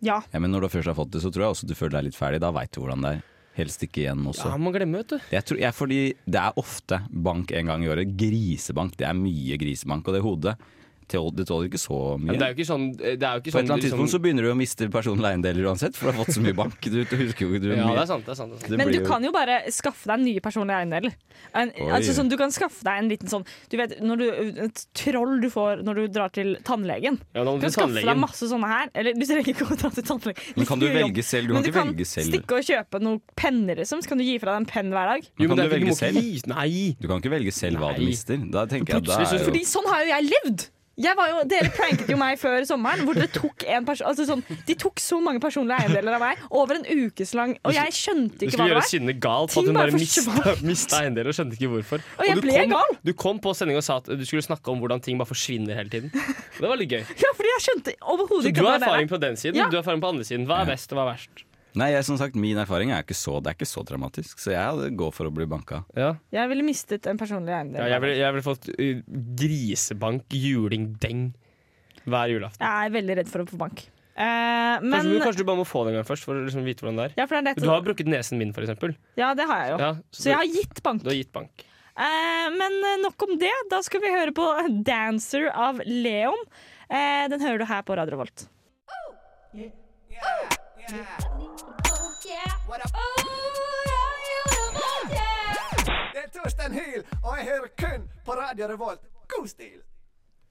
A: Ja.
C: Ja, men når du først har fått det, så tror jeg også du føler deg litt ferdig. Da veit du hvordan det er. Helst ikke igjen også.
B: Ja, man glemmer, vet du.
C: Jeg tror, jeg, fordi det er ofte bank en gang i året. Grisebank. Det er mye grisebank. Og det hodet tål- det tåler ikke så
B: Men
C: mye.
B: det er jo ikke sånn, det er jo ikke
C: på et
B: sånn
C: eller annet tidspunkt
B: liksom-
C: så begynner du å miste personlige eiendeler uansett, for du har fått så mye bank. Du, du husker jo ikke du
B: Ja, det
C: mye.
B: er sant. det er sant, det er sant.
C: Det
A: Men
C: blir
A: du
C: jo-
A: kan jo bare skaffe deg nye personlige eiendeler. En,
C: Oi.
A: altså sånn, du kan skaffe deg en liten sånn Du vet, når du, Et troll du får når du drar til tannlegen.
B: Ja, da må
A: Du
B: du til
A: kan skaffe deg
B: tannlegen.
A: masse sånne her. Eller du trenger ikke å dra til tannlegen.
C: Men kan du
A: Litt mye jobb.
C: velge selv? Du
A: Men
C: kan ikke velge selv.
A: stikke og kjøpe noen penner, liksom. Så kan du gi fra deg en penn hver dag.
B: Jo, men
C: Men kan
B: det er ikke-
C: du velge
B: du må ikke gi- Nei!
C: Du kan ikke velge selv hva du
B: Nei.
C: mister. Da tenker jeg da
B: Plutselig så-
C: er jo
A: Fordi sånn har jo jeg levd! Jeg var jo, dere pranket jo meg før sommeren, hvor dere tok en perso- altså sånn, de tok så mange personlige eiendeler av meg over en ukes lang, og jeg skjønte
B: Du
A: ikke hva
B: skulle
A: det
B: gjøre
A: var.
B: Synne gal på
A: Ting
B: at hun
A: bare
B: bare mista,
A: forsvant.
B: mista eiendeler og skjønte ikke hvorfor.
A: Og jeg
B: du
A: ble
B: kom,
A: gal.
B: Du kom på sending og sa at du skulle snakke om hvordan ting bare forsvinner hele tiden. Og Det var litt gøy.
A: Ja, fordi jeg skjønte overhodet
B: Så
A: ikke
B: du
A: hva
B: har
A: det var.
B: erfaring på den siden,
A: Ja.
B: du har erfaring på andre siden. Hva er best og hva er verst?
C: Nei, jeg, som sagt, min erfaring er ikke så, det er ikke så dramatisk, så jeg hadde gått for å bli banka.
A: Jeg ville mistet en personlig eiendel.
B: Ja, jeg ville jeg ville fått uh, grisebank, juling-deng hver julaften.
A: Jeg er veldig redd for å få bank. Eh, men
B: Kanskje, du, kanskje du bare må få den en gang først, for å liksom vite hvordan det er.
A: Ja, for det er dette-
B: Du har brukket nesen min, for eksempel.
A: Ja, det har jeg jo.
B: Ja,
A: så,
B: du-
A: jeg har gitt bank.
B: Du har gitt bank.
A: Eh, men eh, nok om det. Da skal vi høre på 'Dancer' av Leon. Eh, den hører du her på Radio Volt.
K: Det er Torstein Hyl, og jeg hører kun på Radio Revolt. God stil!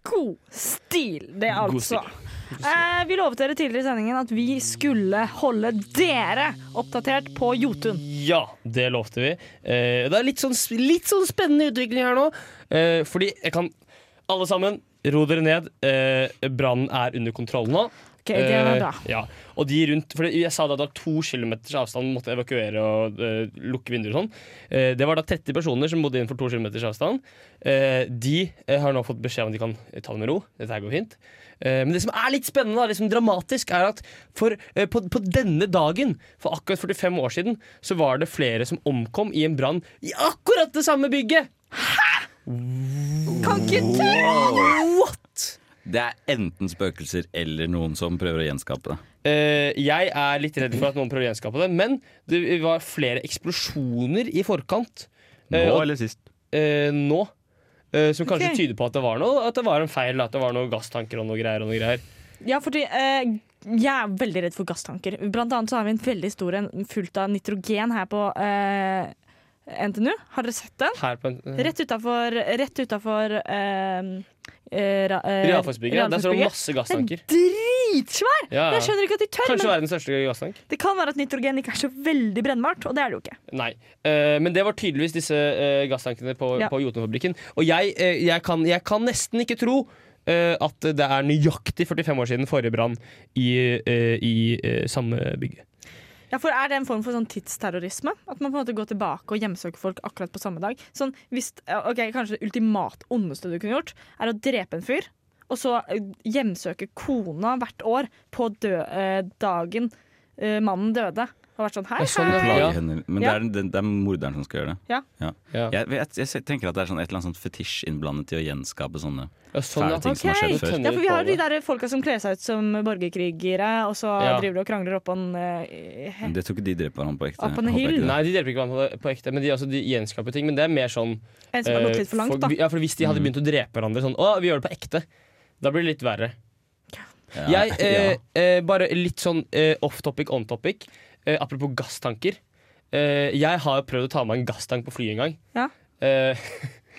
A: God stil, det er
K: God
A: altså. Eh, vi lovet dere tidligere i sendingen at vi skulle holde dere oppdatert på Jotun.
B: Ja, det lovte vi. Eh, det er litt sånn, litt sånn spennende utvikling her nå. Eh, fordi jeg kan Alle sammen, ro dere ned. Eh, Brannen er under kontroll nå.
A: Ok, det var
B: Eh,
A: bra.
B: ja. Og de rundt For jeg sa da at det var to kilometers avstand måtte evakuere og eh, lukke vinduer og sånn. Eh, det var da 30 personer som bodde innenfor to kilometers avstand. Eh, de eh, har nå fått beskjed om at de kan eh, ta det med ro. Dette her går fint. Eh, men det som er litt spennende, da, det som er dramatisk, er at for, eh, på, på denne dagen, for akkurat 45 år siden, så var det flere som omkom i en brann i akkurat det samme bygget!
A: Kan ikke
B: What?!
C: Det er enten spøkelser eller noen som prøver å gjenskape det.
B: Eh, jeg er litt redd for at noen prøver å gjenskape det, men det var flere eksplosjoner i forkant. Eh,
C: Nå
B: og-
C: eller sist?
B: Eh, nå. Eh, som kanskje
A: Ok.
B: tyder på at det var noe At det var en feil, at det var noen gasstanker og noe greier. Og noe greier.
A: Ja, fordi eh, jeg er veldig redd for gasstanker. Blant annet så har vi en veldig stor en fullt av nitrogen her på eh, NTNU. Har dere sett den?
B: Her på en, eh,
A: Rett utafor Rett utafor eh, eh, ra- eh,
B: Realfagsbygget, ja. Der står det
A: realfagsbygget.
B: masse gasstanker.
A: Den er dritsvær!
B: Ja, ja.
A: Jeg skjønner ikke at de tør.
B: Kanskje
A: Men
B: verdens største gasstank?
A: det kan være at nitrogen ikke er så veldig brennbart, og det er det jo ikke.
B: Nei. Eh, men det var tydeligvis disse eh, gasstankene på,
A: Ja.
B: på Jotunfabrikken. Og jeg, eh, jeg, kan, jeg kan nesten ikke tro eh, at det er nøyaktig 45 år siden forrige brann i, eh, i eh, samme bygge.
A: Ja, for Er det en form for sånn tidsterrorisme? At man på en måte går tilbake og hjemsøker folk akkurat på samme dag? Sånn, hvis, ja, ok, Kanskje det ultimat ondeste du kunne gjort, er å drepe en fyr, og så eh, hjemsøke kona hvert år på dø eh, dagen eh, mannen døde. Og vært sånn hei, hei.
C: Det er sånn det plager henne. Men
A: Ja.
C: det, er, det, det er morderen som skal gjøre det.
A: Ja.
C: Jeg, vet- jeg tenker at det er sånn et eller annet sånt fetisj innblandet i å gjenskape sånne
B: Ja, sånn, ja.
C: fæle ting som har skjedd
A: Ok.
C: før.
A: Ja, for vi har jo de der folka som kler seg ut som borgerkrigere, og så
C: Ja.
A: driver de og krangler oppå en eh, he-
C: Men Det tror ikke de dreper hverandre på ekte.
A: Opp on the
C: Håper jeg
A: hill.
C: ikke det.
B: Nei, de dreper ikke hverandre på ekte, men de, altså, de gjenskaper ting. Men det er mer sånn
A: En som har gått
B: eh,
A: litt for langt,
B: folk-
A: da.
B: Ja, for Hvis de
C: Mm.
B: hadde begynt å drepe hverandre sånn Å, vi gjør det på ekte. Da blir det litt verre. Jeg, eh, eh, bare litt sånn eh, off topic, on topic. Eh, apropos gasstanker. Eh, jeg har jo prøvd å ta med en gasstank på flyet en gang.
A: Ja.
B: Eh,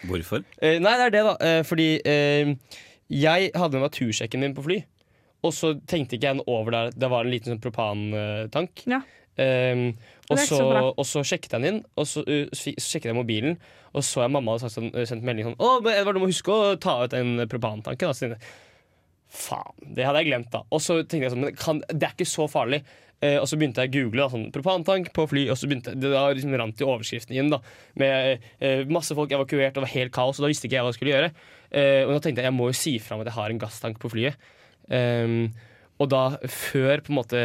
C: Hvorfor?
B: Eh, nei, det er det, da. Eh, fordi eh, jeg hadde med meg tursjekken min på fly. Og så tenkte ikke jeg noe over der. Det var en liten sånn propantank.
A: Ja.
B: Eh, og,
A: Det er ikke
B: så,
A: så bra.
B: og så sjekket jeg den inn, og så, uh, så fikk- så sjekket jeg mobilen. Og så jeg mamma hadde sagt sånn, eh, sendt melding sånn Å, men Edvard, du må huske å ta ut en propantanke. Da, Stine. Faen, det hadde jeg glemt, da. Og så tenkte jeg sånn, men kan, det er ikke så farlig. Eh, og så begynte jeg å google da, sånn, propantank på fly, og så begynte det da liksom rant jo overskriften inn. da Med eh, masse folk evakuert, og det var helt kaos, og da visste ikke jeg hva jeg skulle gjøre. Eh, og da tenkte jeg jeg må jo si fra om at jeg har en gasstank på flyet. Ehm, og da, før på en måte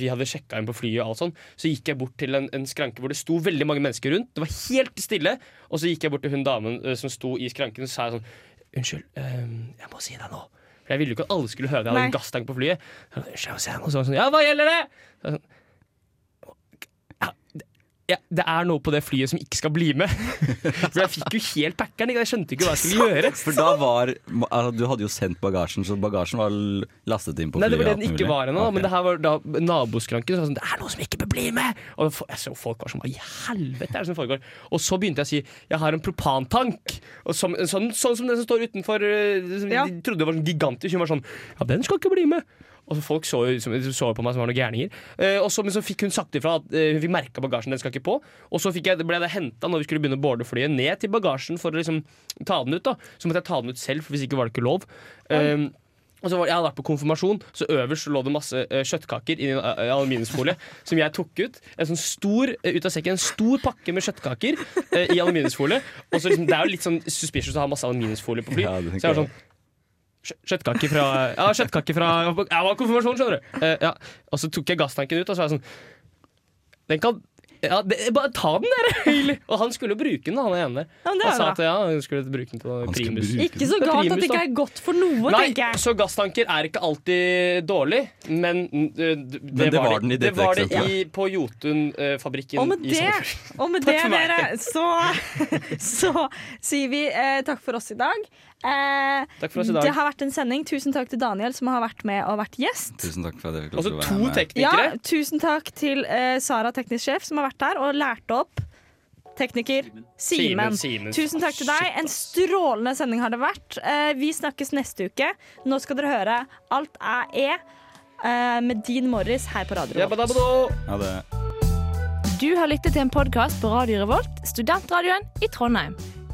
B: vi hadde sjekka inn på flyet, og alt sånn, så gikk jeg bort til en, en skranke hvor det sto veldig mange mennesker rundt. Det var helt stille. Og så gikk jeg bort til hun damen eh, som sto i skranken, og sa jeg sånn Unnskyld, ehm, jeg må si deg nå. For jeg ville jo ikke at alle skulle høre at jeg hadde
A: Nei.
B: en gasstank på flyet. Så, jeg, «Unnskyld, jeg må si deg nå», så var hun sånn, ja, hva gjelder det? Så jeg sånn, «Ja, det- ja, det er noe på det flyet som ikke skal bli med. For jeg fikk jo helt packeren. ikke? Jeg skjønte ikke hva jeg skulle gjøre.
C: For da var altså, Du hadde jo sendt bagasjen, så bagasjen var l- lastet inn på
B: Nei,
C: flyet.
B: det var det
C: og
B: den
C: alt
B: ikke
C: mulig. Ah,
B: var ennå, da,
C: Ok.
B: men det her var da naboskranken. Så var det sånn, det er noe som ikke bør bli med! Og da fo- jeg så folk var sånn Hva i helvete er det som foregår? Og så begynte jeg å si jeg har en propantank. Og som, sånn, sånn som den som står utenfor, eh, som de trodde var sånn gigantisk, hun var sånn Ja, den skal ikke bli med! Og så Folk så jo som- de så jo på meg som var noen gærninger. Eh, og så, men så fikk hun sagt ifra at eh, hun fikk merka bagasjen, den skal ikke på. Og så fikk jeg, ble jeg henta når vi skulle begynne å boarde flyet, ned til bagasjen for å liksom ta den ut. da Så måtte jeg ta den ut selv, for hvis ikke var det ikke lov. Eh, og så var, Jeg hadde vært på konfirmasjon, så øverst lå det masse eh, kjøttkaker i en eh, aluminiumsfolie. som jeg tok ut. En sånn stor eh, ut av sekken, en stor pakke med kjøttkaker eh, i aluminiumsfolie. Og så liksom, Det er jo litt sånn suspicious å ha masse aluminiumsfolie på fly.
C: Ja, det tenker
B: så jeg var sånn kjø- Kjøttkaker fra Ja, kjøttkaker fra Jeg var på konfirmasjon, skjønner du. Eh, ja. Og så tok jeg gasstanken ut, og så var jeg sånn Den kan ja, det, Bare ta den, dere! Høyli. Og han skulle jo bruke den, han ene.
A: Ja, men det er
B: han sa
A: bra.
B: Altså, at ja, han skulle bruke den til primus.
A: Ikke så galt at det ikke er godt for noe,
B: Nei,
A: tenker jeg.
B: så gasstanker er ikke alltid dårlig, men øh, d- det,
J: det var den i dette
B: det var det
J: eksempelet.
B: i, på eh, Jotun-fabrikken.
A: Og med det, og med det
B: Takk for meg.
A: dere, så, så sier vi eh, takk for oss i dag. Eh,
B: Takk for oss i dag.
A: Det har vært en sending. Tusen takk til Daniel, som har vært med og vært gjest.
C: Tusen takk for at jeg fikk
B: Og
C: lov
B: så
C: til å være
B: Altså, to
C: med.
A: Ja, tusen takk til eh, Sara, teknisk sjef, som har vært der og lærte opp tekniker Simen.
B: Simen, Simen.
A: Tusen takk til deg. En strålende sending har det vært. Eh, vi snakkes neste uke. Nå skal dere høre Alt er E eh, med Dean Morris her på Radio
B: Revolt.
C: Ha det.
L: Du har lyttet til en podkast på Radio Revolt, studentradioen i Trondheim.